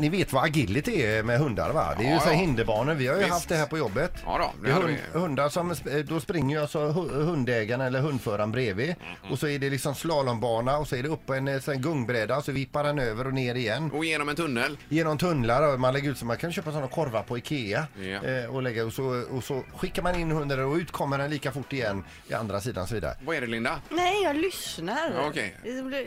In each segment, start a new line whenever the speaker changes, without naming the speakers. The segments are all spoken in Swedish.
ni vet vad agility är med hundar va? Det är ju
Ja,
så här
ja.
hinderbanor. Vi har ju
Visst.
haft det här på jobbet.
Ja då, det
är
hade
hund,
vi.
hundar som, sp- då springer ju alltså hu- hundägaren eller hundföraren bredvid.
Mhm.
Och så är det liksom slalombana och så är det upp på en, eh, sån här gungbräda så vippar han över och ner igen.
Och genom en tunnel.
Genom tunnlar och man lägger ut så man kan köpa sådana korvar på Ikea.
Ja.
Eh, och, lägga, och, så, och så skickar man in hunden och ut kommer den lika fort igen i andra sidan och så vidare.
Vad är det Linda?
Nej, jag lyssnar.
Ja, okej.
Det blir-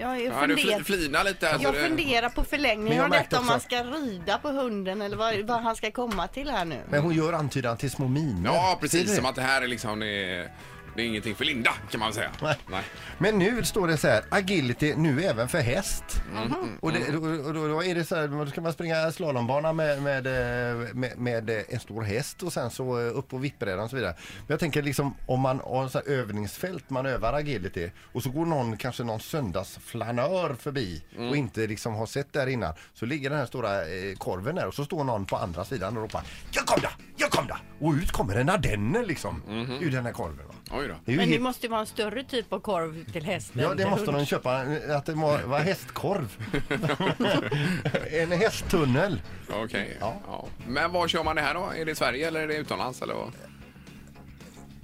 Jag, jag,
Ja, du fl-
funderar,
flinar lite. här, så
jag
det-
funderar på
Men
förlängningen
jag
av
märkte
detta om
också-
man ska rida på hunden eller vad, vad han ska komma till här nu.
Men hon gör antydan till små miner.
Ja,
Ser du det?
precis. Som att det här är liksom... Det är, det är ingenting för Linda, kan man säga.
Nej. Men nu står det så här, agility nu även för häst. Och, det, och, och då, då är det så här, då ska man springa slalombana med, med, eh, med, med en stor häst och sen så eh, upp på vippbrädan och så vidare. Men jag tänker liksom om man har så här övningsfält, man övar agility och så går någon, kanske någon söndagsflanör förbi och inte liksom har sett där innan. Så ligger den här stora eh, korven där och så står någon på andra sidan och ropar Jag kom där! Jag kom där! Och ut kommer en ardenner liksom ur den här korven. Va?
Oj då.
Det är ju
Men
helt
det måste ju vara en större typ av korv till hästen.
Ja, det måste de köpa. Att det må vara hästkorv. en hästtunnel.
Okej.
Ja.
Ja. Men var kör man det här då? Är det i Sverige eller är det utomlands? Eller vad?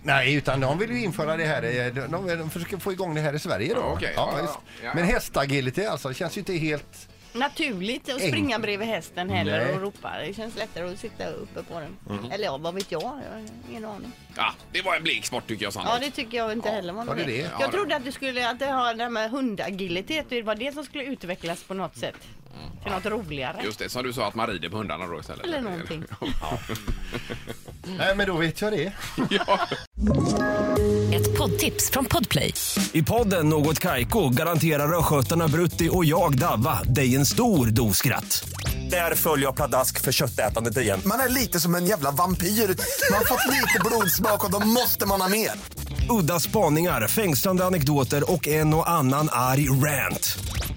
Nej, utan de vill ju införa det här. i- De, de, de försöker få igång det här i Sverige då.
Ja, okej. Ja,
visst.
ja, ja.
Men hästagility alltså, det känns ju inte helt...
Naturligt att
Eng-
springa bredvid hästen heller
Nej.
och ropa. Det känns lättare att sitta uppe på den.
Mm.
Eller ja, vad vet jag? Jag har ingen aning.
Ja, det var en blixtsport tycker jag
Ja,
sannolikt.
det tycker jag inte heller var
var det
något.
det?
Jag
Ja, det-
trodde att du skulle att det har det här med hundagilitet, det var det som skulle utvecklas på något sätt. Till något roligare.
Mm. Just det, som du sa att man rider på hundarna då istället.
Eller någonting.
Nej, men då vet jag det.
ja.
Ett poddtips från Podplay.
I podden Något Kaiko garanterar östgötarna Brutti och jag, Davva, dig en stor dos skratt. Där följer jag pladask för köttätandet igen.
Man är lite som en jävla vampyr. Man har fått lite blodsmak och då måste man ha mer.
Udda spaningar, fängslande anekdoter och en och annan arg rant.